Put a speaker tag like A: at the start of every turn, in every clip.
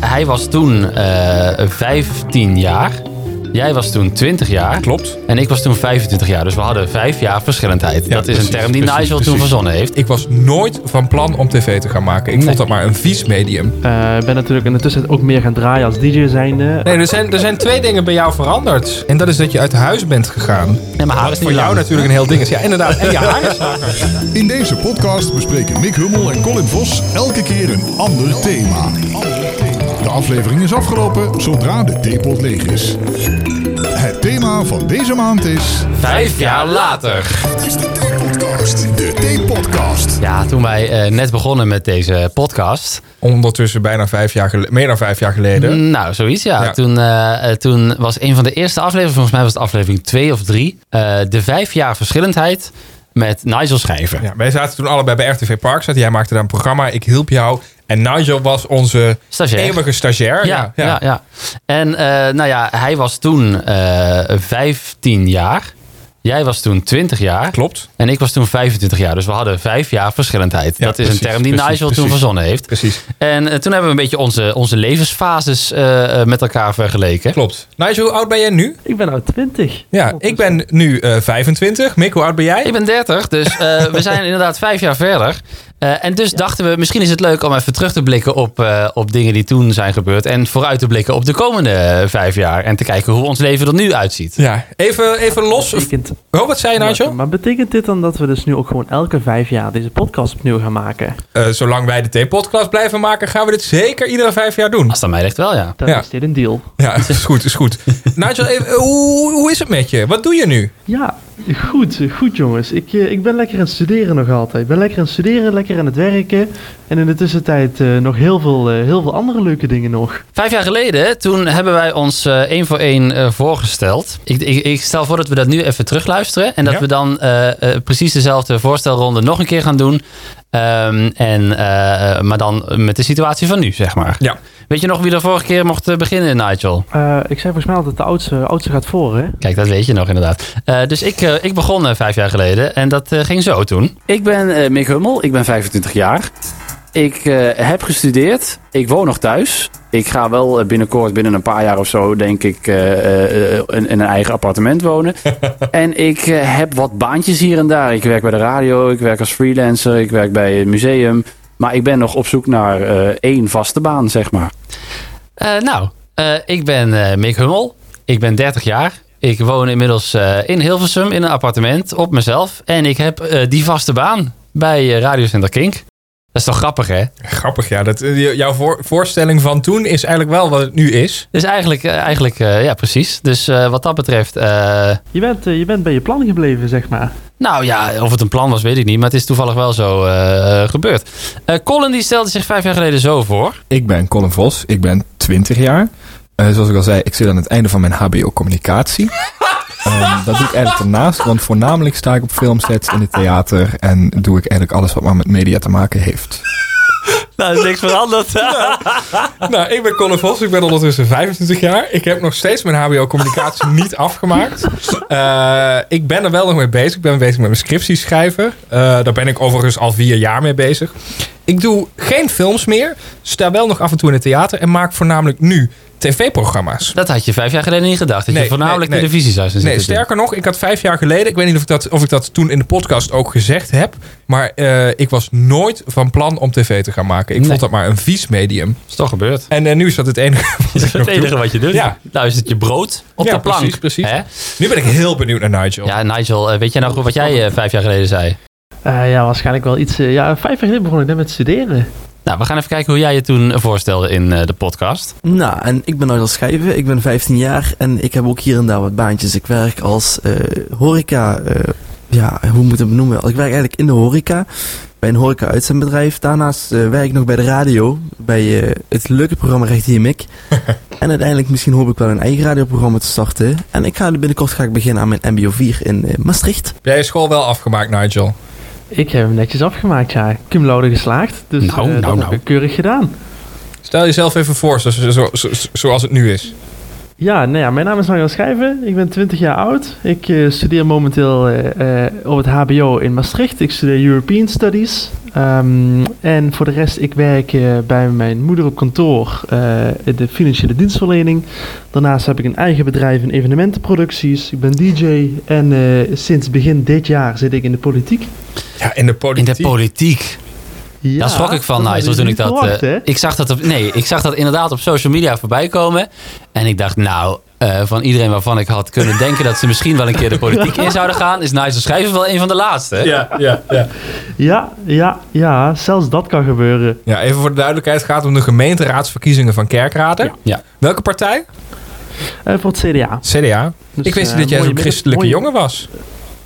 A: hij was toen eh 15 jaar. Jij was toen 20 jaar.
B: Klopt.
A: En ik was toen 25 jaar. Dus we hadden vijf jaar verschillendheid.
B: Ja,
A: dat is
B: precies,
A: een term die
B: precies,
A: Nigel toen
B: precies.
A: verzonnen heeft.
B: Ik was nooit van plan om tv te gaan maken. Ik vond dat maar een vies medium.
C: Eh, Ik ben natuurlijk in de tussentijd ook meer gaan draaien als DJ zijnde.
B: Nee, er zijn, er zijn twee dingen bij jou veranderd. En dat is dat je uit huis bent gegaan.
A: Nee, maar haar is
B: Wat
A: niet
B: voor jou
A: lang.
B: natuurlijk een heel ding is. Ja, inderdaad. En je haar is langer.
D: In deze podcast bespreken Mick Hummel en Colin Vos elke keer een ander thema. De aflevering is afgelopen zodra de theepot leeg is. Het thema van deze maand is...
A: Vijf jaar later.
D: Het is de theepodcast. De theepodcast.
A: Ja, toen wij eh, net begonnen met deze podcast.
B: Ondertussen bijna vijf jaar geleden. Meer dan vijf jaar geleden.
A: Nou, zoiets ja.
B: Ja.
A: Toen, eh, eh, toen was een van de eerste afleveringen, volgens mij was het aflevering twee of drie. eh, de vijf jaar verschillendheid met Nigel Schrijver.
B: Ja, wij zaten toen allebei bij RTV Park. Zat. Jij maakte daar een programma. Ik hielp jou. En Nigel was onze
A: Stagiair.
B: eeuwige stagiair.
A: Ja, ja, ja. En eh, nou ja, hij was toen eh 15 jaar. Jij was toen 20 jaar.
B: Klopt.
A: En ik was toen 25 jaar. Dus we hadden vijf jaar verschillendheid.
B: Ja,
A: dat is
B: precies,
A: een term die
B: precies,
A: Nigel toen
B: precies.
A: verzonnen heeft.
B: Precies.
A: En eh, toen hebben we een beetje onze, onze levensfases eh, eh, met elkaar vergeleken.
B: Klopt. Nigel, hoe oud ben jij nu?
C: Ik ben nou 20.
B: Ja, ik ben nu eh, 25. Mick, hoe oud ben jij?
A: Ik ben 30, dus eh, we zijn inderdaad vijf jaar verder. Eh, en dus dachten we, misschien is het leuk om even terug te blikken op, eh, op dingen die toen zijn gebeurd. En vooruit te blikken op de komende eh, vijf jaar. En te kijken hoe ons leven er nu uitziet.
B: Ja, even, even los.
C: Betekent,
B: Oh, wat zei je, Nigel?
C: maar betekent dit dan dat we dus nu ook gewoon elke vijf jaar deze podcast opnieuw gaan maken?
B: Eh, zolang wij de T-podcast blijven maken, gaan we dit zeker iedere vijf jaar doen.
A: Als het aan mij ligt wel, ja.
C: Dan
B: Ja.
C: is dit een deal.
B: Ja, is goed, is goed. Nigel, even, eh, hoe, hoe is het met je? Wat doe je nu?
C: Ja, goed, goed jongens. Ik, eh, ik ben lekker aan het studeren nog altijd. Ik ben lekker aan het studeren, lekker aan het werken. En in de tussentijd eh, nog heel veel, eh, heel veel andere leuke dingen nog.
A: Vijf jaar geleden, toen hebben wij ons eh, één voor één eh, voorgesteld. Ik, ik, ik stel voor dat we dat nu even terugluisteren. En dat
B: Ja.
A: we dan eh, eh, precies dezelfde voorstelronde nog een keer gaan doen. Ehm, en, eh, eh, maar dan met de situatie van nu, zeg maar.
B: Ja.
A: Weet je nog wie er vorige keer mocht eh, beginnen, Nigel?
C: Eh, ik zei volgens mij altijd de oudste, oudste gaat voor, hè?
A: Kijk, dat weet je nog inderdaad. Eh, dus ik, eh, ik begon eh, vijf jaar geleden en dat eh, ging zo toen. Ik ben
E: eh,
A: Mick Hummel, ik ben 25 jaar. Ik heb gestudeerd, ik woon nog thuis.
E: Ik ga wel eh, binnenkort, binnen een paar jaar of zo, denk ik, eh, eh, eh, in, in een eigen appartement wonen. en ik eh, heb wat baantjes hier en daar. Ik werk bij de radio, ik werk als freelancer, ik werk bij een museum. Maar ik ben nog op zoek naar eh, één vaste baan, zeg maar.
A: nou, eh, ik ben eh, Mick Hummel, ik ben 30 jaar. Ik woon inmiddels eh, in Hilversum in een appartement op mezelf. En ik heb eh, die vaste baan bij eh, Radio Center Kink. Dat is toch grappig, hè?
B: Grappig, ja. Dat, eh, jouw voor- voorstelling van toen is eigenlijk wel wat het nu is.
A: Dus eigenlijk, eh, eigenlijk eh, ja, precies. Dus eh, wat dat betreft... eh,
C: Je bent, eh, je bent bij je plan gebleven, zeg maar.
A: Nou ja, of het een plan was, weet ik niet. Maar het is toevallig wel zo eh, eh, gebeurd. Eh, Colin die stelde zich vijf jaar geleden zo voor.
F: Ik ben Colin Vos, ik ben 20 jaar. Eh, zoals ik al zei, ik zit aan het einde van mijn HBO communicatie. Ehm, dat doe ik eigenlijk ernaast, want voornamelijk sta ik op filmsets in het theater en doe ik eigenlijk alles wat maar met media te maken heeft.
A: Nou, is niks veranderd.
B: Nou, ik ben Colin Vos. Ik ben ondertussen 25 jaar. Ik heb nog steeds mijn HBO-communicatie niet afgemaakt. Eh, ik ben er wel nog mee bezig. Ik ben bezig met mijn scriptieschrijver. Eh, daar ben ik overigens al vier jaar mee bezig. Ik doe geen films meer. Sta wel nog af en toe in het theater. En maak voornamelijk nu tv-programma's.
A: dat had je vijf jaar geleden niet gedacht. Dat
B: Nee,
A: je voornamelijk
B: nee, nee.
A: televisie zou zijn
B: Nee,
A: zitten doen.
B: sterker nog, ik had vijf jaar geleden, ik weet niet of ik dat, of ik dat toen in de podcast ook gezegd heb, maar eh, ik was nooit van plan om tv te gaan maken. Ik
A: Nee.
B: vond dat maar een vies medium.
A: is toch gebeurd.
B: En eh, nu is dat het enige wat ik
A: Dat is
B: nog
A: het
B: doe.
A: enige wat je doet.
B: Ja.
A: Nou is het je brood op
B: Ja,
A: de plank.
B: precies, precies.
A: Hè?
B: Nu ben ik heel benieuwd naar Nigel.
A: Ja, Nigel, eh, weet jij nou goed wat jij eh, vijf jaar geleden zei?
C: Eh, ja, waarschijnlijk wel iets... eh, ja, vijf jaar geleden begon ik net met studeren.
A: Nou, we gaan even kijken hoe jij je toen voorstelde in eh, de podcast.
G: Nou, en ik ben Nigel Schijven, ik ben 15 jaar en ik heb ook hier en daar wat baantjes. Ik werk als eh, horeca, eh, ja, hoe moet ik het benoemen? Ik werk eigenlijk in de horeca, bij een horeca-uitzendbedrijf. Daarnaast eh, werk ik nog bij de radio, bij eh, het leuke programma Recht hier Mik. en uiteindelijk misschien hoop ik wel een eigen radioprogramma te starten. En ik ga binnenkort ga ik beginnen aan mijn mbo 4 in eh, Maastricht.
B: Heb jij je school wel afgemaakt, Nigel?
C: Ik heb hem netjes afgemaakt, ja. Cum laude geslaagd. Dus
A: Nou,
C: eh, dat
A: nou,
C: heb
A: nou.
C: ik keurig gedaan.
B: Stel jezelf even voor, zo- zo- zo- zo- zoals het nu is.
C: Ja, nou ja, mijn naam is Daniel Schijven. Ik ben 20 jaar oud. Ik eh, studeer momenteel eh, eh, op het HBO in Maastricht. Ik studeer European Studies. Ehm, en voor de rest, ik werk eh, bij mijn moeder op kantoor eh, in de financiële dienstverlening. Daarnaast heb ik een eigen bedrijf in evenementenproducties. Ik ben DJ en eh, sinds begin dit jaar zit ik in de politiek.
B: Ja, in de
A: In
B: politiek.
A: de politiek.
C: Ja,
A: Daar schrok ik van,
C: dat
A: Nigel,
C: had
A: toen ik
C: niet
A: dat...
C: verwacht,
A: eh,
C: hè?
A: ik, zag dat op, nee, ik zag dat inderdaad op social media voorbij komen. En ik dacht, nou, eh, van iedereen waarvan ik had kunnen denken... dat ze misschien wel een keer de politiek in zouden gaan... is Nigel Schrijver wel een van de laatste. hè?
B: ja, ja, ja.
C: Ja, ja, ja, zelfs dat kan gebeuren.
B: ja, even voor de duidelijkheid. Het gaat om de gemeenteraadsverkiezingen van Kerkrade.
A: Ja.
B: Welke partij?
C: Eh, voor het CDA.
B: CDA.
C: Dus,
B: ik wist niet dat jij
C: eh, mooie
B: zo'n
C: midden-
B: christelijke
C: mooie-
B: jongen was.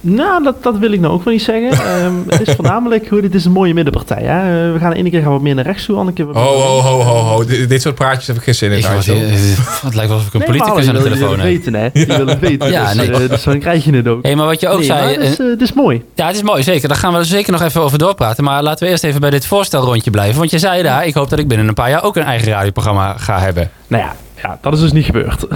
C: Nou, dat, dat wil ik nou ook wel niet zeggen. Ehm, het is voornamelijk, hoe, dit is een mooie middenpartij. Hè? Eh, We gaan de ene keer gaan we wat meer naar rechts toe, andere keer wat
A: Oh,
B: Ho,
C: meer naar
B: ho,
C: links.
B: ho, ho, ho. Dit, dit soort praatjes heb ik geen zin in.
A: Eh, Ik was,
B: Nigel.
A: eh, het lijkt wel alsof ik een
C: Nee, maar
A: politicus aan de
C: je wil-
A: telefoon
C: Je wil
A: heb.
C: het weten, hè? Je wil het weten.
A: Ja,
C: dus,
A: nee.
C: eh, dus dan krijg je het ook.
A: Hé, maar wat je ook
C: Nee, maar
A: zei...
C: het is,
A: eh,
C: eh, het is mooi.
A: ja, het is mooi, zeker. Daar gaan we er zeker nog even over doorpraten. Maar laten we eerst even bij dit voorstelrondje blijven. Want je zei daar, ik hoop dat ik binnen een paar jaar... ook een eigen radioprogramma ga hebben.
C: Nou ja, ja, dat is dus niet gebeurd.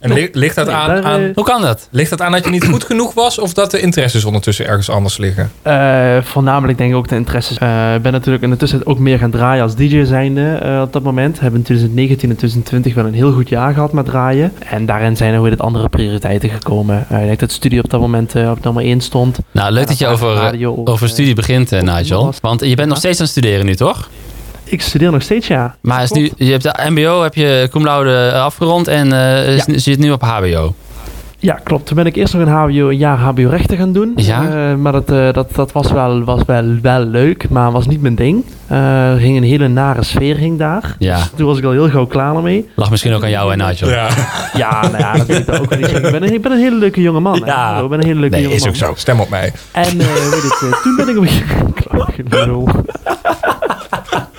B: En li- ligt dat
C: Nee,
B: aan,
C: daar,
B: aan
C: eh,
A: Hoe kan dat?
B: Ligt dat aan dat je niet goed genoeg was of dat de interesses ondertussen ergens anders liggen?
C: Eh, voornamelijk denk ik ook de interesses. Eh, Ik ben natuurlijk in de tussentijd ook meer gaan draaien als DJ zijnde eh, op dat moment. Hebben in 2019 en 2020 wel een heel goed jaar gehad met draaien. En daarin zijn er weer dit andere prioriteiten gekomen. Eh, ik denk dat studie op dat moment eh, op nummer 1 stond.
A: Nou, leuk dat je over, eh,
C: Radio of,
A: over
C: eh,
A: studie begint, eh, Nigel. Want je bent nog steeds aan het studeren nu, toch?
C: Ik studeer nog steeds, ja.
A: Maar is nu, je hebt de MBO, heb je cum laude afgerond en eh, is- zit nu op HBO.
C: Ja, klopt. Toen ben ik eerst nog een, HBO, een jaar HBO rechten gaan doen.
A: Ja.
C: Eh, maar dat, eh, dat, dat was, wel, was wel, wel leuk, maar was niet mijn ding. Eh, er ging een hele nare sfeer hing daar. Dus
A: Ja,
C: Toen was ik al heel gauw klaar ermee.
A: lag misschien ook aan jou en Nigel.
B: Ja,
C: Ja, nou ja, dat wil ik dan ook wel niet zeggen. Ik ben een, ik ben een hele leuke jonge man. hè.
A: Ja.
C: Hallo, ik ben een hele leuke
A: Nee,
C: jonge
A: is
C: man.
A: ook zo.
B: stem op mij.
C: En eh, hoe heet het, eh, toen ben ik op een gegeven moment...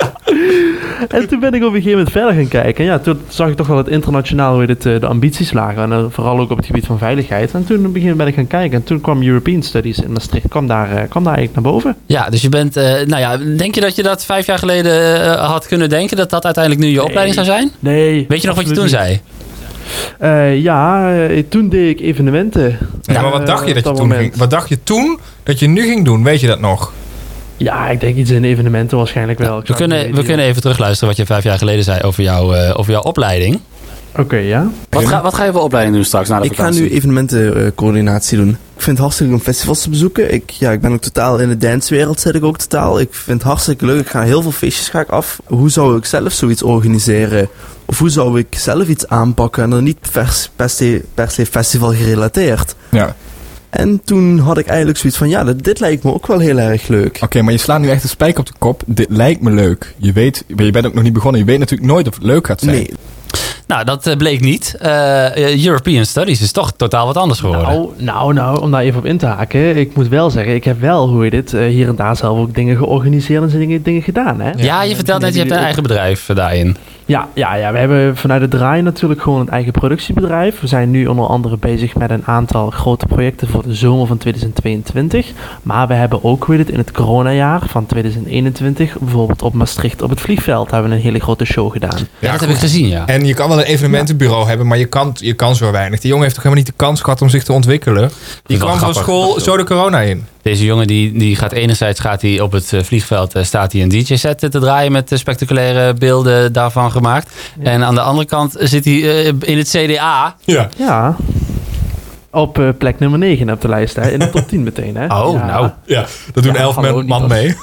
C: En toen ben ik op een gegeven moment verder gaan kijken. En ja, toen zag ik toch wel het internationaal, hoe heet het, eh, de ambities lagen. En eh, vooral ook op het gebied van veiligheid. En toen op een gegeven moment ben ik gaan kijken. En toen kwam European Studies in Maastricht, kwam daar, eh, kwam daar eigenlijk naar boven.
A: Ja, dus je bent, eh, nou ja, denk je dat je dat vijf jaar geleden eh, had kunnen denken, dat dat uiteindelijk nu je opleiding zou zijn?
C: Nee.
A: Weet je nog wat je toen zei?
C: Eh, ja, eh, toen deed ik evenementen.
B: Ja, maar wat
C: Eh,
B: dacht je
C: op
B: dat je
C: dat
B: toen
C: moment.
B: ging, wat dacht je toen dat je nu ging doen? Weet je dat nog?
C: Ja, ik denk iets in evenementen waarschijnlijk wel. Ik
A: We
C: zou het
A: kunnen,
C: niet
A: we
C: weten.
A: kunnen even terugluisteren wat je vijf jaar geleden zei over, jou, eh, over jouw opleiding.
C: Oké, ja.
E: Wat ga, wat ga je voor opleiding doen straks na
A: Ah,
E: de
G: Ik ga
E: vakantie?
G: nu evenementencoördinatie doen. Ik vind het hartstikke leuk om festivals te bezoeken. Ik, ja, ik ben ook totaal in de dancewereld, zit ik ook totaal. Ik vind het hartstikke leuk. Ik ga heel veel feestjes ga ik af. Hoe zou ik zelf zoiets organiseren? Of hoe zou ik zelf iets aanpakken en dan niet vers- per se, per se festival gerelateerd?
F: Ja. Oké,
G: En toen had ik eigenlijk zoiets van, ja, dit, dit lijkt me ook wel heel erg leuk.
F: maar je slaat nu echt een spijker op de kop. Dit lijkt me leuk. Je weet, je bent ook nog niet begonnen. Je weet natuurlijk nooit of het leuk gaat zijn.
G: Nee,
A: Nou, dat eh, bleek niet. Eh, eh, European Studies is toch totaal wat anders geworden.
C: Nou, nou, nou, om daar even op in te haken. Ik moet wel zeggen, ik heb wel, hoe je dit, eh, hier en daar zelf ook dingen georganiseerd en dingen, dingen gedaan. Hè?
A: ja, je vertelt net, je hebt een eigen bedrijf eh, daarin.
C: Ja, ja, ja, we hebben vanuit het draai natuurlijk gewoon een eigen productiebedrijf. We zijn nu onder andere bezig met een aantal grote projecten voor de zomer van 2022. Maar we hebben ook weer dit in het coronajaar van 2021, bijvoorbeeld op Maastricht op het vliegveld, hebben we een hele grote show gedaan.
A: Ja, dat heb ik gezien, ja.
B: En je kan wel een evenementenbureau hebben, maar je kan, je kan zo weinig. Die jongen heeft toch helemaal niet de kans gehad om zich te ontwikkelen. Die
A: is wel
B: kwam van
A: grappig.
B: school zo de corona in.
A: Deze jongen die, die gaat enerzijds gaat hij op het eh, vliegveld eh, staat hij een DJ-set te draaien met eh, spectaculaire beelden daarvan gemaakt. En aan de andere kant zit hij eh, in het CDA.
B: Ja.
C: Ja, op eh, plek nummer 9 op de lijst, hè? in de top 10 meteen. Hè?
A: Oh,
C: Ja.
A: nou.
B: ja. Dat doen
C: Ja,
B: elf
C: hallo,
B: men-
C: die
B: man
C: was-
B: mee.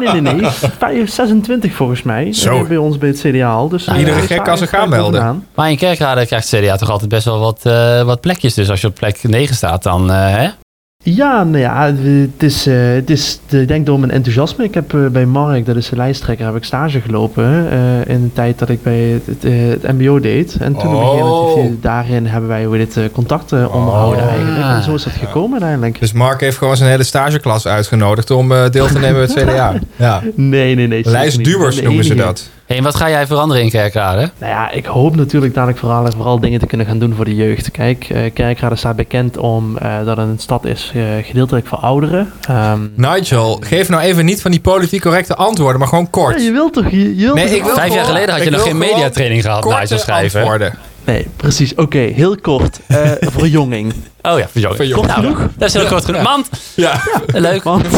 C: Nee, nee, nee. nee. Vijf- 26 volgens mij.
B: Zo.
C: Eh, Bij ons bij het CDA al. Dus
A: Nou, iedere
C: eh,
B: gek
C: daar
B: kan zich
C: staat het
B: aanmelden.
C: bovenaan.
A: Maar in Kerkrade krijgt het CDA toch altijd best wel wat, eh, wat plekjes. Dus als je op plek 9 staat, dan... eh, hè?
C: Ja, nou ja, het is, eh, het is de- ik denk door mijn enthousiasme. Ik heb eh, bij Mark, dat is de lijsttrekker, heb ik stage gelopen eh, in de tijd dat ik bij het, het, eh, het mbo deed. En toen op een gegeven moment,
B: Oh.
C: heeft hij- daarin hebben wij hoe dit, eh, contacten onderhouden
B: Oh.
C: eigenlijk. En zo is dat gekomen uiteindelijk.
B: Dus Mark heeft gewoon zijn hele stageklas uitgenodigd om eh, deel te nemen met het CDA. Ja.
C: Nee, nee, nee. zeker niet.
B: Lijstduwers
C: De
B: noemen ze
C: enige-
B: dat.
A: Hey, en wat ga jij veranderen in Kerkrade?
C: Nou ja, ik hoop natuurlijk dadelijk vooral, vooral dingen te kunnen gaan doen voor de jeugd. Kijk, eh Kerkrade staat bekend om eh, dat het een stad is eh, gedeeltelijk voor ouderen. Ehm,
B: Nigel, geef nou even niet van die politiek correcte antwoorden, maar gewoon
C: ja,
B: kort.
C: je wilt toch... Je, je wilt
B: Nee,
C: toch-
B: ik wil
A: Vijf jaar
B: gewoon-
A: geleden had je
B: ik
A: nog
B: wil
A: geen
B: gewoon
A: mediatraining gehad, Nigel
B: Korte
A: schrijven.
B: antwoorden.
C: Nee, precies. Oké, heel kort. eh verjonging.
A: Oh ja, verjonging.
B: Verjonging.
A: Nou, Dat is heel kort genoeg. Mand,
B: Ja.
A: leuk.
C: Want,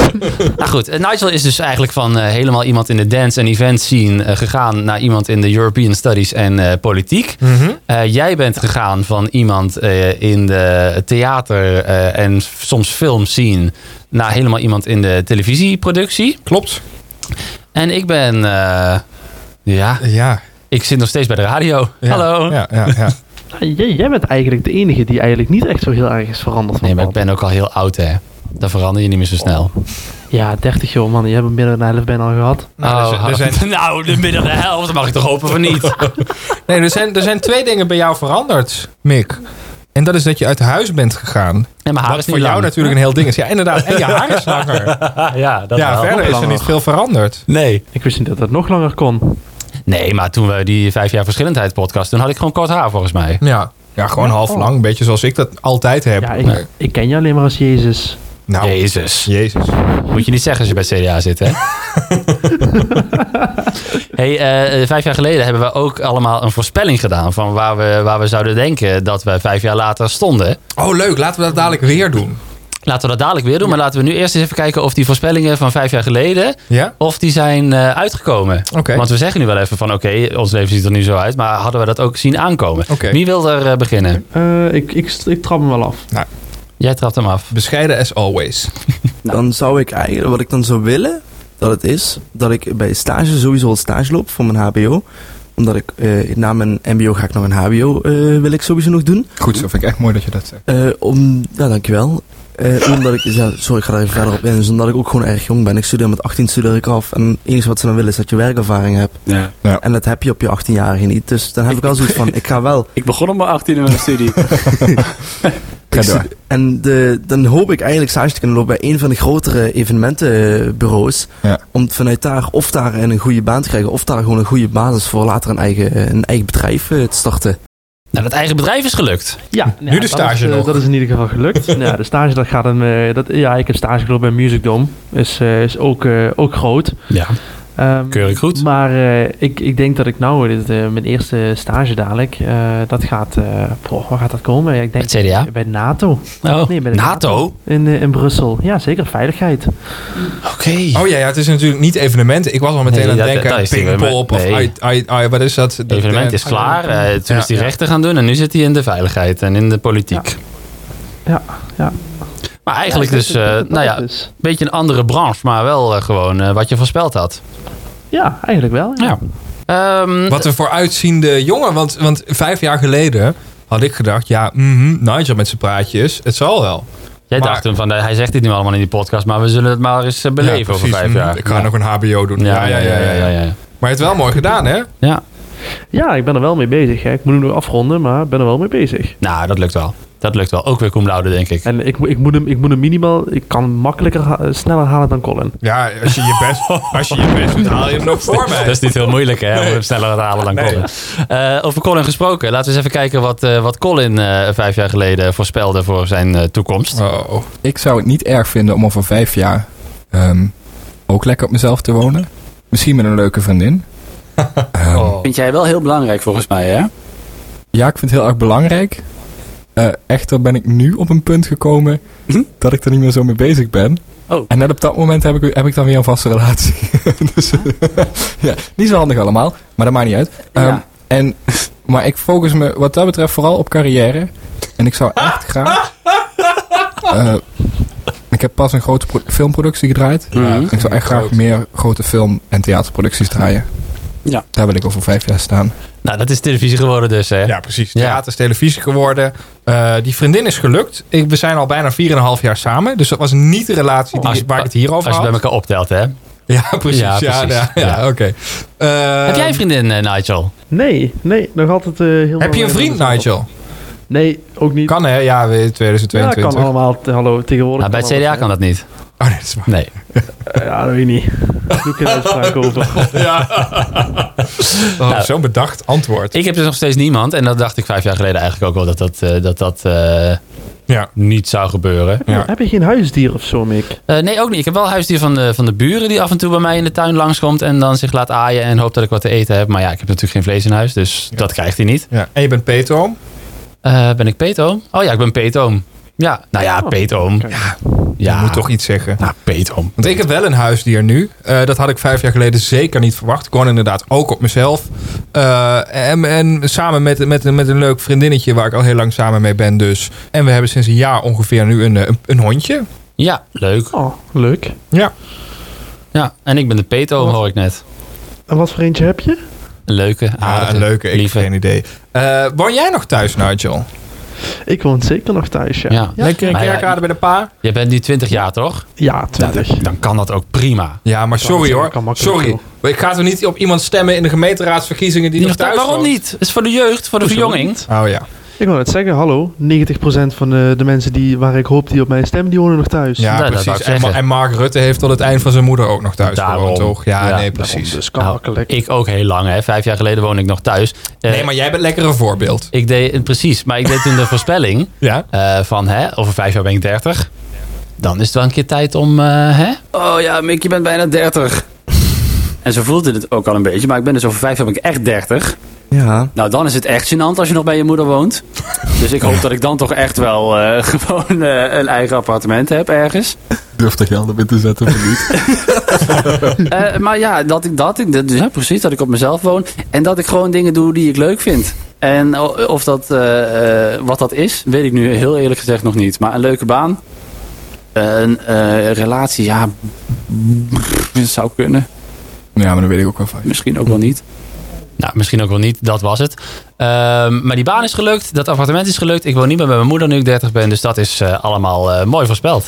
A: Nou goed, eh, Nigel is dus eigenlijk van eh, helemaal iemand in de dance en event scene eh, gegaan naar iemand in de European Studies en eh, politiek.
B: Mhm.
A: Eh, jij bent gegaan van iemand eh, in de theater eh, en f- soms film scene naar helemaal iemand in de televisieproductie.
B: Klopt.
A: En ik ben, eh, ja,
B: Ja.
A: ik zit nog steeds bij de radio.
B: ja.
A: Hallo.
B: Ja, ja, ja.
C: jij, jij bent eigenlijk de enige die eigenlijk niet echt zo heel erg is veranderd. van
A: Nee, maar ik
C: plan.
A: ben ook al heel oud hè. Dan verander je niet meer zo snel.
C: Ja, 30 joh man. Je hebt hem binnen de helft bijna al gehad.
B: Nou, er
A: Oh,
B: zijn- er zijn-
A: Nou, de midden de helft mag ik toch hopen van niet.
B: Nee, er zijn, er zijn twee dingen bij jou veranderd, Mick. En dat is dat je uit huis bent gegaan.
A: En mijn haar
B: Wat
A: is
B: voor
A: niet
B: jou
A: lang.
B: natuurlijk een heel ding is. Ja, inderdaad. En je haar is langer.
A: ja, dat
B: Ja,
A: wel.
B: verder is er niet veel veranderd.
A: Nee.
C: Ik wist niet dat dat nog langer kon.
A: Nee, maar toen we die vijf jaar verschillendheid podcast, toen had ik gewoon kort haar volgens mij.
B: Ja. Ja, gewoon
A: Oh.
B: half lang. Een beetje zoals ik dat altijd heb.
C: Ja, ik, ik ken je alleen maar als Jezus.
B: Nou,
A: Jezus.
B: Jezus.
A: Moet je niet zeggen als je bij CDA zit, hè? hey, eh, vijf jaar geleden hebben we ook allemaal een voorspelling gedaan van waar we, waar we zouden denken dat we vijf jaar later stonden.
B: Oh, leuk. Laten we dat dadelijk weer doen.
A: Laten we dat dadelijk weer doen, maar laten we nu eerst eens even kijken of die voorspellingen van vijf jaar geleden,
B: Ja?
A: of die zijn eh, uitgekomen.
B: Oké.
A: Want we zeggen nu wel even van oké, ons leven ziet er nu zo uit, maar hadden we dat ook zien aankomen?
B: Oké.
A: Wie wil er eh, beginnen?
C: Eh, ik, ik, ik trap hem wel af.
A: Jij trapt hem af.
B: Bescheiden as always.
G: Dan zou ik eigenlijk, wat ik dan zou willen, dat het is dat ik bij stage sowieso het stage loop voor mijn HBO. Omdat ik eh, na mijn MBO ga ik nog een HBO, eh, wil ik sowieso nog doen.
F: Goed zo, vind ik echt mooi dat je dat zegt.
G: Eh, om, ja, dankjewel. Eh, omdat ik, ja, sorry, ik ga daar even verder op in. Dus omdat ik ook gewoon erg jong ben. Ik studeer met 18, studeer ik af. En het enige wat ze dan willen is dat je werkervaring hebt.
E: Ja.
G: En dat heb je op je 18-jarige niet. Dus dan heb ik wel zoiets van, ik ga wel.
E: Ik begon op mijn 18e met mijn studie.
F: Ga
G: Ik
F: door.
G: stu- en de, dan hoop ik eigenlijk stage te kunnen lopen bij een van de grotere evenementenbureaus.
F: Ja.
G: Om vanuit daar of daar een goede baan te krijgen. Of daar gewoon een goede basis voor later een eigen, een eigen bedrijf eh, te starten.
A: Nou, dat eigen bedrijf is gelukt.
C: Ja,
B: Nu
C: nou ja,
B: de
C: dat
B: stage
C: is, eh,
B: nog.
C: Dat is in ieder geval gelukt. nou, ja, de stage dat gaat hem. eh, dat, ja, ik heb stage gelopen bij Music Dome. Is, eh, is ook, eh, ook groot.
A: Ja.
C: Ehm,
A: Keurig goed.
C: Maar eh, ik, ik denk dat ik nou, dit, eh, mijn eerste stage dadelijk, eh, dat gaat, eh poh, waar gaat dat komen? Ja, Ik denk
A: Het CDA.
C: bij NATO.
A: Oh.
C: Nee, bij de
A: NATO?
C: In, eh, in Brussel. Ja, zeker, veiligheid.
A: Oké.
B: Oh ja, ja, het is natuurlijk niet evenementen. Ik was al meteen
A: Nee,
B: aan
A: dat-
B: het denken
A: dat
B: aan
A: is niet meer,
B: Pinkpop
A: maar-
B: of
A: nee.
B: I, I, I- wat is dat?
A: Het evenement is klaar. Eh, toen
B: Ja,
A: is hij
B: ja.
A: rechten gaan doen en nu zit hij in de veiligheid en in de politiek.
C: Ja, ja.
A: Maar eigenlijk
C: Ja, ik
A: dus,
C: denk
A: eh,
C: dat het
A: nou ja,
C: dat
A: een
C: is.
A: beetje een andere branche, maar wel eh, gewoon eh, wat je voorspeld had.
C: Ja, eigenlijk wel. Ja.
A: Ja. Ehm,
B: Wat een vooruitziende jongen. Want, want vijf jaar geleden had ik gedacht, ja, mhm, Nigel met zijn praatjes, het zal wel.
A: jij
B: maar-
A: dacht toen van, eh, hij zegt dit nu allemaal in die podcast, maar we zullen het maar eens eh, beleven
B: Ja,
A: over
B: precies.
A: vijf
B: Mhm,
A: jaar.
B: Ik ga
A: ja.
B: nog een HBO doen. Ja, ja, ja. ja, ja.
A: ja.
B: Maar je hebt wel mooi gedaan, hè?
A: Ja.
C: ja, ik ben er wel mee bezig. Hè. Ik moet hem nog afronden, maar ik ben er wel mee bezig.
A: Nou, dat lukt wel. Dat lukt wel. Ook weer cum laude, denk ik.
C: En ik, mo- ik, moet, hem, ik moet hem minimaal, ik kan hem makkelijker, ha- eh, sneller halen dan Colin.
B: Ja, als je je best, als je je best doet, haal je hem nog voor
A: Dat
B: mij.
A: is niet heel moeilijk, hè? Om hem sneller te halen dan
B: Nee.
A: Colin. Eh, over Colin gesproken. Laten we eens even kijken wat, eh, wat Colin eh, vijf jaar geleden voorspelde voor zijn eh, toekomst.
B: Oh, oh.
F: Ik zou het niet erg vinden om over vijf jaar ehm, ook lekker op mezelf te wonen. Misschien met een leuke vriendin. Ehm,
B: Oh.
E: Vind jij wel heel belangrijk volgens mij, hè?
F: Ja, ik vind het heel erg belangrijk. Eh, echter ben ik nu op een punt gekomen
E: Hm?
F: dat ik er niet meer zo mee bezig ben.
E: Oh.
F: En net op dat moment heb ik, heb ik dan weer een vaste relatie. dus, ja, niet zo handig allemaal, maar dat maakt niet uit. Ehm,
E: Ja.
F: en, maar ik focus me wat dat betreft vooral op carrière. En ik zou echt graag... eh, ik heb pas een grote pro- filmproductie gedraaid.
E: Mhm.
F: Ik zou echt graag
B: Groot.
F: meer grote film- en theaterproducties draaien.
E: Ja.
F: Daar wil ik over vijf jaar staan.
A: Nou, dat is televisie geworden dus, hè?
B: Ja, precies.
A: Ja.
B: Theater is televisie geworden. Eh, die vriendin is gelukt. Ik, we zijn al bijna 4,5 jaar samen. Dus dat was niet de relatie die,
A: Als-
B: waar ik het hier
A: Als
B: over
A: je
B: had.
A: bij elkaar optelt,
B: Ehm,
A: hè?
B: Ja, precies. Ja,
A: Ja, precies.
B: ja, ja,
A: Ja.
B: oké. Eh,
A: Heb jij een vriendin, eh, Nigel?
C: Nee, nee, nog altijd eh, heel
B: heb je een
C: lang-
B: vriend, Nigel?
C: Nee, ook niet.
B: Kan hè? Ja, we-
C: Ja, kan
B: 2022.
C: allemaal. T- Hallo, tegenwoordig.
A: Nou, bij het CDA
C: kan alles, hè.
A: kan dat niet.
B: Oh nee, dat is waar.
A: Nee.
C: Eh, ja, dat weet ik niet. Daar doe ik geen uitspraak over.
A: Nou.
B: Oh, Zo'n bedacht antwoord.
A: Ik heb dus nog steeds niemand. En dat dacht ik vijf jaar geleden eigenlijk ook wel dat dat, eh, dat, dat eh,
B: Ja.
A: niet zou gebeuren.
B: Ja.
C: Heb je geen huisdier of zo, Mick?
A: Eh, nee, ook niet. Ik heb wel een huisdier van de, van de buren die af en toe bij mij in de tuin langskomt. En dan zich laat aaien en hoopt dat ik wat te eten heb. Maar ja, ik heb natuurlijk geen vlees in huis. Dus dat krijgt hij niet.
B: Ja. En je bent Peter.
A: Eh, ben ik peetoom? Oh ja, ik ben peetoom. Ja, nou ja, peetoom. Ja, ja.
B: Oh, Je moet toch iets zeggen.
A: Nou, peetoom.
B: Want ik heb wel een huisdier nu. Eh, dat had ik vijf jaar geleden zeker niet verwacht. Ik woon inderdaad ook op mezelf. Eh, en, en samen met, met, met een leuk vriendinnetje waar ik al heel lang samen mee ben dus. En we hebben sinds een jaar ongeveer nu een, eh, een, een hondje.
A: Ja, leuk.
C: Oh, leuk.
B: Ja.
A: Ja, en ik ben de
B: Oh.
A: peetoom, hoor ik net.
C: En wat voor eentje heb je?
A: Een leuke, aardige,
B: Ah, een leuke, ik heb
A: lieve.
B: geen idee. Eh, woon jij nog thuis, Nigel?
C: Ik woon zeker nog thuis, ja.
A: Ja.
B: Lekker in
A: Maar ja,
B: Kerkrade bij de pa?
A: Je bent nu 20 jaar, toch?
C: Ja, 20.
A: Dan kan dat ook prima.
B: Ja, maar sorry
C: dat
B: hoor.
C: kan makkelijk,
B: Sorry. Ik ga toch niet op iemand stemmen in de gemeenteraadsverkiezingen die,
A: Die
B: nog thuis
A: waarom
B: woont?
A: niet? Het is voor de jeugd, voor de verjonging.
B: Oh ja.
C: Ik wil net zeggen, hallo, 90% van eh, de, de mensen die, waar ik hoop die op mij stemmen, die wonen nog thuis.
B: Ja,
A: Nou, dat wou
B: precies.
A: ik
B: En, Ma-
A: zeggen.
B: en Mark Rutte heeft tot het eind van zijn moeder ook nog thuis
A: Daarom.
B: gewoond, toch? Ja,
A: Ja,
B: nee,
C: Daarom,
B: precies.
C: Dus kan
A: Nou,
C: makkelijk.
A: Ik ook heel lang, hè. Vijf jaar geleden woonde ik nog thuis. Eh,
B: Nee, maar jij bent lekker een voorbeeld.
A: Ik deed, precies, maar ik deed toen de voorspelling
B: Ja.
A: eh, van, hè, over vijf jaar ben ik 30. Dan is het wel een keer tijd om, eh, hè?
E: Oh ja, Mick, je bent bijna 30. En zo voelt het ook al een beetje. Maar ik ben dus over vijf jaar ben ik echt 30.
G: Ja,
E: Nou, dan is het echt gênant als je nog bij je moeder woont. Dus ik hoop dat ik dan toch echt wel eh, gewoon eh, een eigen appartement heb ergens.
F: Durf er geld op in te zetten of niet?
E: Eh, maar ja, dat ik dat, ik, dat- ja, precies, dat ik op mezelf woon. En dat ik gewoon dingen doe die ik leuk vind. En o- of dat, eh, eh, wat dat is, weet ik nu heel eerlijk gezegd nog niet. Maar een leuke baan, een eh, relatie, ja, dat zou kunnen.
F: Ja, maar dat weet ik ook wel van.
E: Misschien ook wel niet.
A: Nou, misschien ook wel niet, dat was het. Ehm, maar die baan is gelukt, dat appartement is gelukt. Ik woon niet meer bij mijn moeder nu ik 30 ben, dus dat is eh, allemaal eh, mooi voorspeld.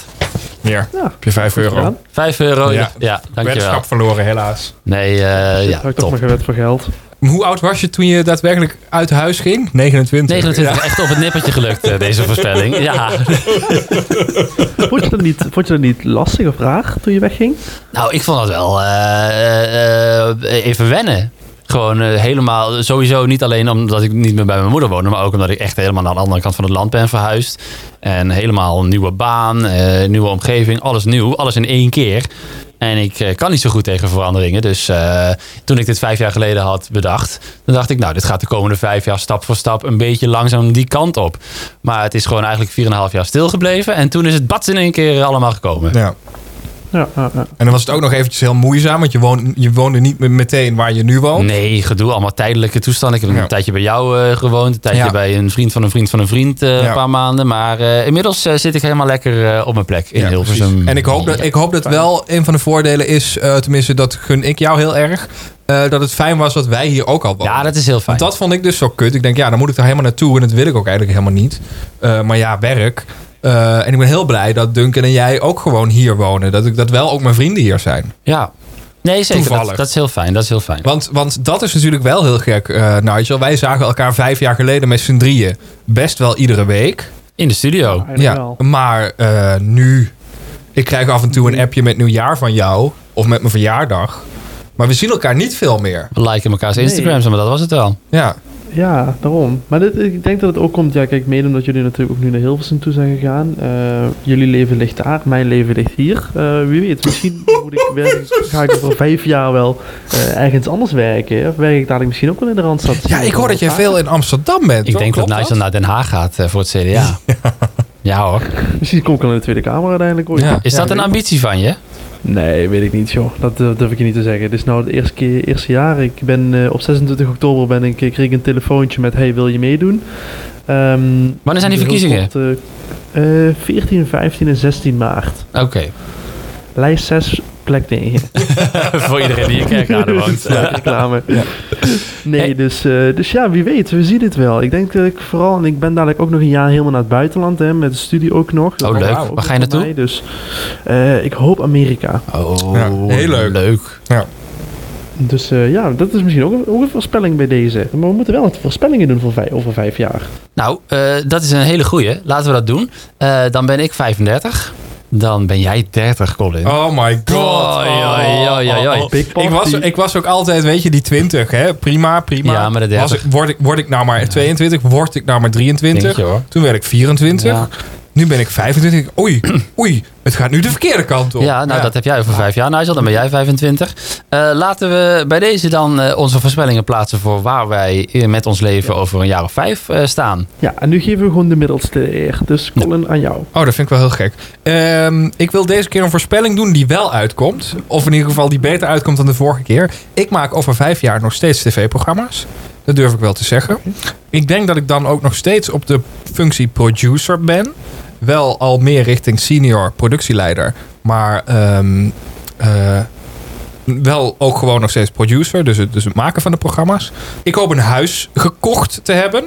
B: Meer.
C: Ja.
B: Heb je 5 euro.
C: gedaan.
A: Vijf euro,
B: Ja.
A: ja, ja dankjewel.
B: Weddenschap verloren, helaas.
A: Nee, eh,
C: ja,
A: ja,
C: ik toch
A: top.
C: maar gewet voor geld.
B: Maar Hoe oud was je toen je daadwerkelijk uit huis ging? 29.
A: 29 echt op het nippertje gelukt, eh, deze voorspelling. Ja,
C: Vond je, dat niet, vond je dat niet lastig of raar toen je wegging?
A: Nou, ik vond dat wel eh, eh, even wennen. Gewoon eh, helemaal, sowieso niet alleen omdat ik niet meer bij mijn moeder woonde, maar ook omdat ik echt helemaal naar de andere kant van het land ben verhuisd. En helemaal een nieuwe baan, eh, nieuwe omgeving, alles nieuw, alles in één keer. En ik eh, kan niet zo goed tegen veranderingen. Dus eh, toen ik dit vijf jaar geleden had bedacht, dan dacht ik, nou, dit gaat de komende vijf jaar stap voor stap een beetje langzaam die kant op. Maar het is gewoon eigenlijk vier en een half jaar stilgebleven. En toen is het bats in één keer allemaal gekomen.
B: Ja.
C: Ja, ja, ja.
B: En dan was het ook nog eventjes heel moeizaam, want je woonde, je woonde niet meer meteen waar je nu woont.
A: Nee, gedoe. Allemaal tijdelijke toestanden. Ik heb
B: Ja.
A: een tijdje bij jou eh, gewoond. Een tijdje
B: Ja.
A: bij een vriend van een vriend van een vriend. eh,
B: Ja.
A: Een paar maanden. Maar eh, inmiddels eh, zit ik helemaal lekker eh, op mijn plek in
B: Ja,
A: Hilversum.
B: precies. En ik hoop, dat, ik hoop dat wel een van de voordelen is, eh, tenminste dat gun ik jou heel erg, eh, dat het fijn was dat wij hier ook al woonden.
A: Ja, dat is heel fijn.
B: Want dat vond ik dus zo kut. Ik denk, ja, dan moet ik er helemaal naartoe. En dat wil ik ook eigenlijk helemaal niet. Eh, maar ja, werk. Eh, en ik ben heel blij dat Duncan en jij ook gewoon hier wonen. Dat, ik, dat wel ook mijn vrienden hier zijn.
A: Ja. Nee, zeker.
B: Toevallig.
A: Dat, dat is heel fijn. Dat is heel fijn.
B: Want, want dat is natuurlijk wel heel gek, eh Nigel. Wij zagen elkaar vijf jaar geleden met z'n drieën best wel iedere week.
A: In de studio.
C: Eigenlijk
B: Ja,
C: wel.
B: maar eh, nu... Ik krijg af en toe een appje met nieuwjaar van jou. Of met mijn verjaardag. Maar we zien elkaar niet veel meer.
A: We liken elkaars Instagrams, maar dat was het wel.
B: Ja,
C: Ja, daarom. Maar dit, ik denk dat het ook komt, ja kijk, mede omdat jullie natuurlijk ook nu naar Hilversum toe zijn gegaan. Eh, jullie leven ligt daar, mijn leven ligt hier. Eh, wie weet, misschien moet ik werken, ga ik over vijf jaar wel eh, ergens anders werken. Of werk ik dadelijk misschien ook wel in de Randstad.
B: ja ik hoor dat jij veel in Amsterdam bent.
A: Ik
B: toch?
A: denk dat
B: Klopt
A: Nigel naar Den Haag gaat eh, voor het CDA. Ja, hoor.
C: Misschien kom ik wel in de Tweede Kamer uiteindelijk ooit.
B: Ja.
A: Is dat een ambitie van je?
C: Nee, weet ik niet, joh. Dat eh, durf ik je niet te zeggen. Dit is nou het eerste, keer, eerste jaar. Ik ben, eh, op 26 oktober ben ik, kreeg ik een telefoontje met... Hey, wil je meedoen? Ehm,
A: Wanneer zijn die
C: heel
A: verkiezingen?
C: kort, eh, eh, 14, 15 en 16 maart.
A: Oké.
C: Lijst 6, plek 9.
A: voor iedereen die in Kerkrade woont.
C: Ja, reclame.
A: Hey.
C: Nee, dus, eh, dus ja, wie weet. We zien het wel. Ik denk dat ik vooral... En ik ben dadelijk ook nog een jaar helemaal naar het buitenland. Hè, met de studie ook nog.
A: Oh,
C: Dat
A: leuk.
C: ook
A: Waar
C: nog
A: ga je
C: voor
A: naartoe?
C: mij, Dus eh, ik hoop Amerika.
A: Oh,
B: Ja, heel leuk.
A: leuk.
C: Dus eh, ja, dat is misschien ook een, ook een voorspelling bij deze. Maar we moeten wel wat voorspellingen doen voor vijf, over vijf jaar.
A: Nou, eh, dat is een hele goeie. Laten we dat doen. Eh, dan ben ik 35. dan ben jij 30, Colin.
B: Oh my god.
A: Oei, oei, oei, oei, oei.
C: Big
B: Ik was,
C: party.
B: ik was ook altijd, weet je, die 20, hè? Prima, prima.
A: Ja, maar de 30.
B: Was ik, word, ik, word ik nou maar 22? Word ik nou maar
A: Denk
B: 23?
A: je, hoor.
B: Toen werd ik 24.
A: Ja.
B: Nu ben ik 25. Oei, oei, het gaat nu de verkeerde kant op.
A: Ja, nou dat heb jij over vijf jaar, Nigel. Dan ben jij 25. Eh, laten we bij deze dan eh, onze voorspellingen plaatsen voor waar wij eh, met ons leven over een jaar of vijf eh, staan.
C: Ja, en nu geven we gewoon de middelste eer. Dus Colin, aan jou.
B: Oh, dat vind ik wel heel gek. Ehm, ik wil deze keer een voorspelling doen die wel uitkomt. Of in ieder geval die beter uitkomt dan de vorige keer. Ik maak over vijf jaar nog steeds tv-programma's. Dat durf ik wel te zeggen. Ik denk dat ik dan ook nog steeds op de functie producer ben. Wel al meer richting senior productieleider. Maar ehm, eh, wel ook gewoon nog steeds producer. Dus het, dus het maken van de programma's. Ik hoop een huis gekocht te hebben.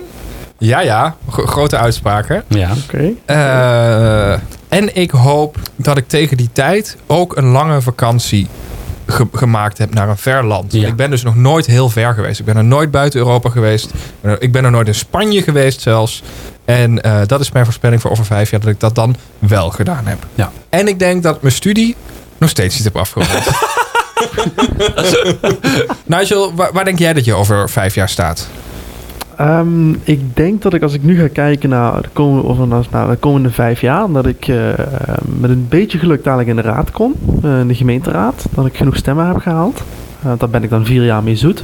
B: Ja, ja. gro- grote uitspraken.
A: Ja.
C: Oké.
B: Eh, en ik hoop dat ik tegen die tijd ook een lange vakantie ge- gemaakt heb naar een ver land. Want
A: Ja.
B: Ik ben dus nog nooit heel ver geweest. Ik ben er nooit buiten Europa geweest. Ik ben er- Ik ben er nooit in Spanje geweest zelfs. En eh, dat is mijn voorspelling voor over vijf jaar dat ik dat dan wel gedaan heb.
A: Ja.
B: En ik denk dat mijn studie nog steeds niet heb afgerond. Nigel, waar, waar denk jij dat je over vijf jaar staat?
C: Ehm, ik denk dat ik als ik nu ga kijken naar de komende, of naar, naar de komende vijf jaar, dat ik eh, eh, met een beetje geluk dadelijk in de raad kom, eh, in de gemeenteraad, dat ik genoeg stemmen heb gehaald. Eh daar ben ik dan vier jaar mee zoet.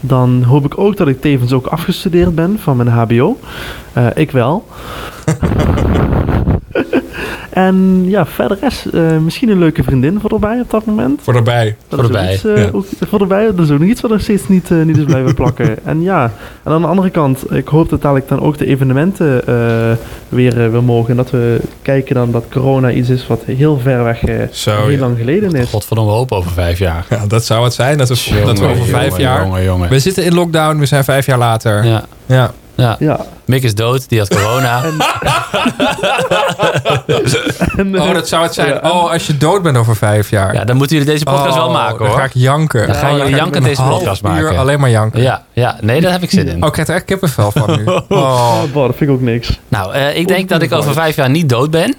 C: Dan hoop ik ook dat ik tevens ook afgestudeerd ben van mijn HBO. Eh, ik wel. en ja, verder is eh, misschien een leuke vriendin voor erbij op dat moment.
B: Voor daarbij.
A: Voor
C: is ook
A: erbij,
C: iets, eh,
B: ja.
C: ook- voor erbij, dat is ook nog iets wat nog steeds niet, eh, niet is blijven plakken. En ja, en aan de andere kant, ik hoop dat dadelijk dan ook de evenementen eh, weer, eh, weer mogen. En dat we kijken dan dat corona iets is wat heel ver weg, eh,
B: Zo,
C: heel
B: ja.
C: lang geleden
B: Oh,
C: is.
A: Godverdomme hoop over vijf jaar.
B: Ja, dat zou het zijn. Dat we, dat we over vijf
A: Jongen,
B: jaar...
A: Jongen, jongen.
B: We zitten in lockdown, we zijn vijf jaar later. Ja.
A: Ja, ja.
C: Ja.
A: Mick is dood, die had corona.
C: En, eh,
B: Oh, dat zou het zijn. Oh, als je dood bent over vijf jaar.
A: Ja, dan moeten jullie deze podcast
B: Oh,
A: wel maken
B: Dan ga ik
A: hoor.
B: janken.
A: Dan gaan
B: Oh,
A: jullie
B: ga ik
A: janken
B: een
A: deze
B: half
A: podcast
B: uur
A: maken.
B: alleen maar janken.
A: Ja, ja, nee, daar heb ik zin in.
B: Oh, ik krijg er echt kippenvel van nu. Oh.
C: boah, dat vind ik ook niks.
A: Nou, eh, ik denk dat ik over vijf jaar niet dood ben.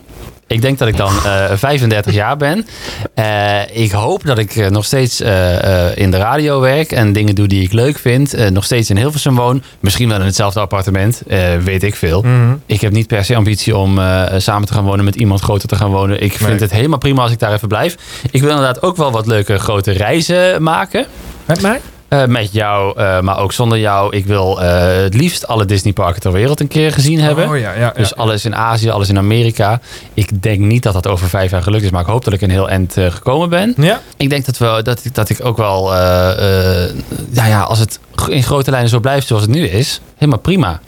A: Ik denk dat ik dan eh, 35 jaar ben. Eh, ik hoop dat ik eh, nog steeds eh, eh, in de radio werk en dingen doe die ik leuk vind. Eh, nog steeds in Hilversum woon. Misschien wel in hetzelfde appartement. eh, weet ik veel.
B: Mhm.
A: Ik heb niet per se ambitie om eh, samen te gaan wonen met iemand groter te gaan wonen. Ik vind
B: Nee.
A: het helemaal prima als ik daar even blijf. Ik wil inderdaad ook wel wat leuke grote reizen maken.
B: Met mij?
A: Eh, met jou, eh, maar ook zonder jou. Ik wil eh, het liefst alle Disneyparken ter wereld een keer gezien hebben.
B: Oh ja, ja. ja.
A: Dus alles in Azië, alles in Amerika. Ik denk niet dat dat over vijf jaar gelukt is, maar ik hoop dat ik een heel eind eh, gekomen ben.
B: ja.
A: Ik denk dat, we, dat, ik, dat ik ook wel, eh, eh, nou ja, als het g- in grote lijnen zo blijft zoals het nu is, helemaal prima.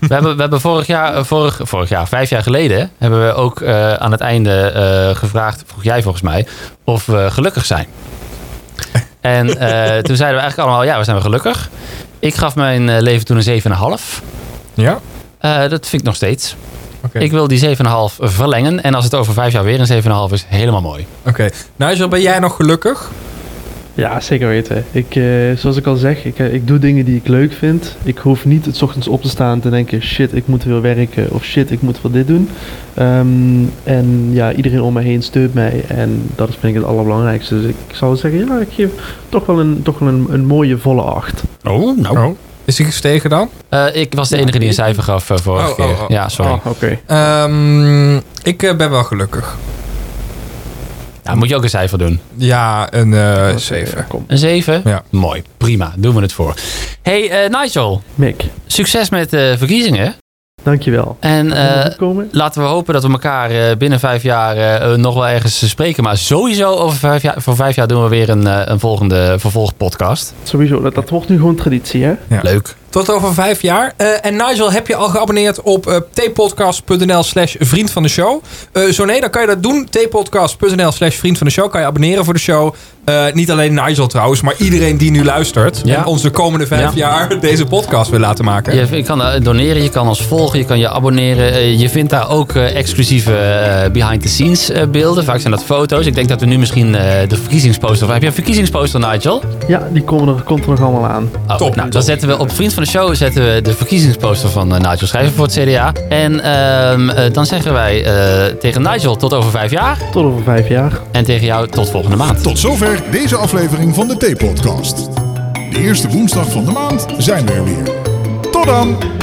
A: We hebben, we hebben vorig jaar, eh, vorig, vorig jaar, vijf jaar geleden, hebben we ook eh, aan het einde eh, gevraagd, vroeg jij volgens mij, of we gelukkig zijn. En eh, toen zeiden we eigenlijk allemaal, ja, we zijn wel gelukkig. Ik gaf mijn eh, leven toen een 7,5.
B: Ja?
A: Eh, dat vind ik nog steeds.
B: Oké.
A: Ik wil die 7,5 verlengen. En als het over vijf jaar weer een 7,5 is, helemaal mooi.
B: Oké. Nigel, ben jij nog gelukkig?
C: Ja, zeker weten. Ik, eh, zoals ik al zeg, ik, eh, ik doe dingen die ik leuk vind. Ik hoef niet het 's ochtends op te staan en te denken, shit, ik moet weer werken of shit, ik moet wel dit doen. Ehm, en ja, iedereen om me heen steunt mij en dat is vind ik het allerbelangrijkste. Dus ik zou zeggen, ja, ik geef toch wel een, toch wel een, een mooie volle acht.
A: Oh, nou.
B: Oh. Is hij gestegen dan?
A: Eh, ik was de enige die een cijfer gaf eh, vorige
B: Oh,
A: keer.
B: oh, oh.
A: Ja, sorry.
C: Ah, oké.
B: Ehm, ik eh, ben wel gelukkig.
A: Nou, moet je ook een cijfer doen.
B: Ja, een eh 7.
C: Kom.
A: Een 7?
B: Ja.
A: Mooi, prima. Doen we het voor. hey, eh, Nigel.
C: Mick,
A: Succes met de verkiezingen.
C: dankjewel.
A: En
C: Kan je
A: eh,
C: goed komen?
A: laten we hopen dat we elkaar eh, binnen vijf jaar eh, eh, nog wel ergens eh, spreken. Maar sowieso over vijf jaar, voor vijf jaar doen we weer een, eh, een volgende vervolgpodcast.
C: Sowieso, dat, dat wordt nu gewoon traditie, hè?
B: Ja.
A: Leuk.
B: Tot over vijf jaar. Eh, en Nigel, heb je al geabonneerd op eh, tpodcast.nl slash vriend van de show? Eh, zo nee, dan kan je dat doen. tpodcast.nl slash vriend van de show. Kan je abonneren voor de show. Eh, niet alleen Nigel trouwens, maar iedereen die nu luistert.
A: Ja.
B: En ons de komende vijf
A: Ja.
B: jaar deze podcast wil laten maken.
A: Je, je kan eh, doneren, je kan ons volgen, je kan je abonneren. Eh, Je vindt daar ook eh, exclusieve eh, behind-the-scenes eh, beelden. Vaak zijn dat foto's. Ik denk dat we nu misschien eh, de verkiezingsposter... Heb je een verkiezingsposter, Nigel?
C: Ja, die komen er, komt er nog allemaal aan.
A: Oh,
B: Top.
A: Nou, dan zetten we op vriend van de show zetten we de verkiezingsposter van eh, Nigel Schrijver voor het CDA. En ehm, eh, dan zeggen wij eh, tegen Nigel tot over vijf jaar.
C: Tot over vijf jaar.
A: En tegen jou tot volgende maand.
D: Tot zover deze aflevering van de T-podcast. De eerste woensdag van de maand zijn we er weer. Tot dan!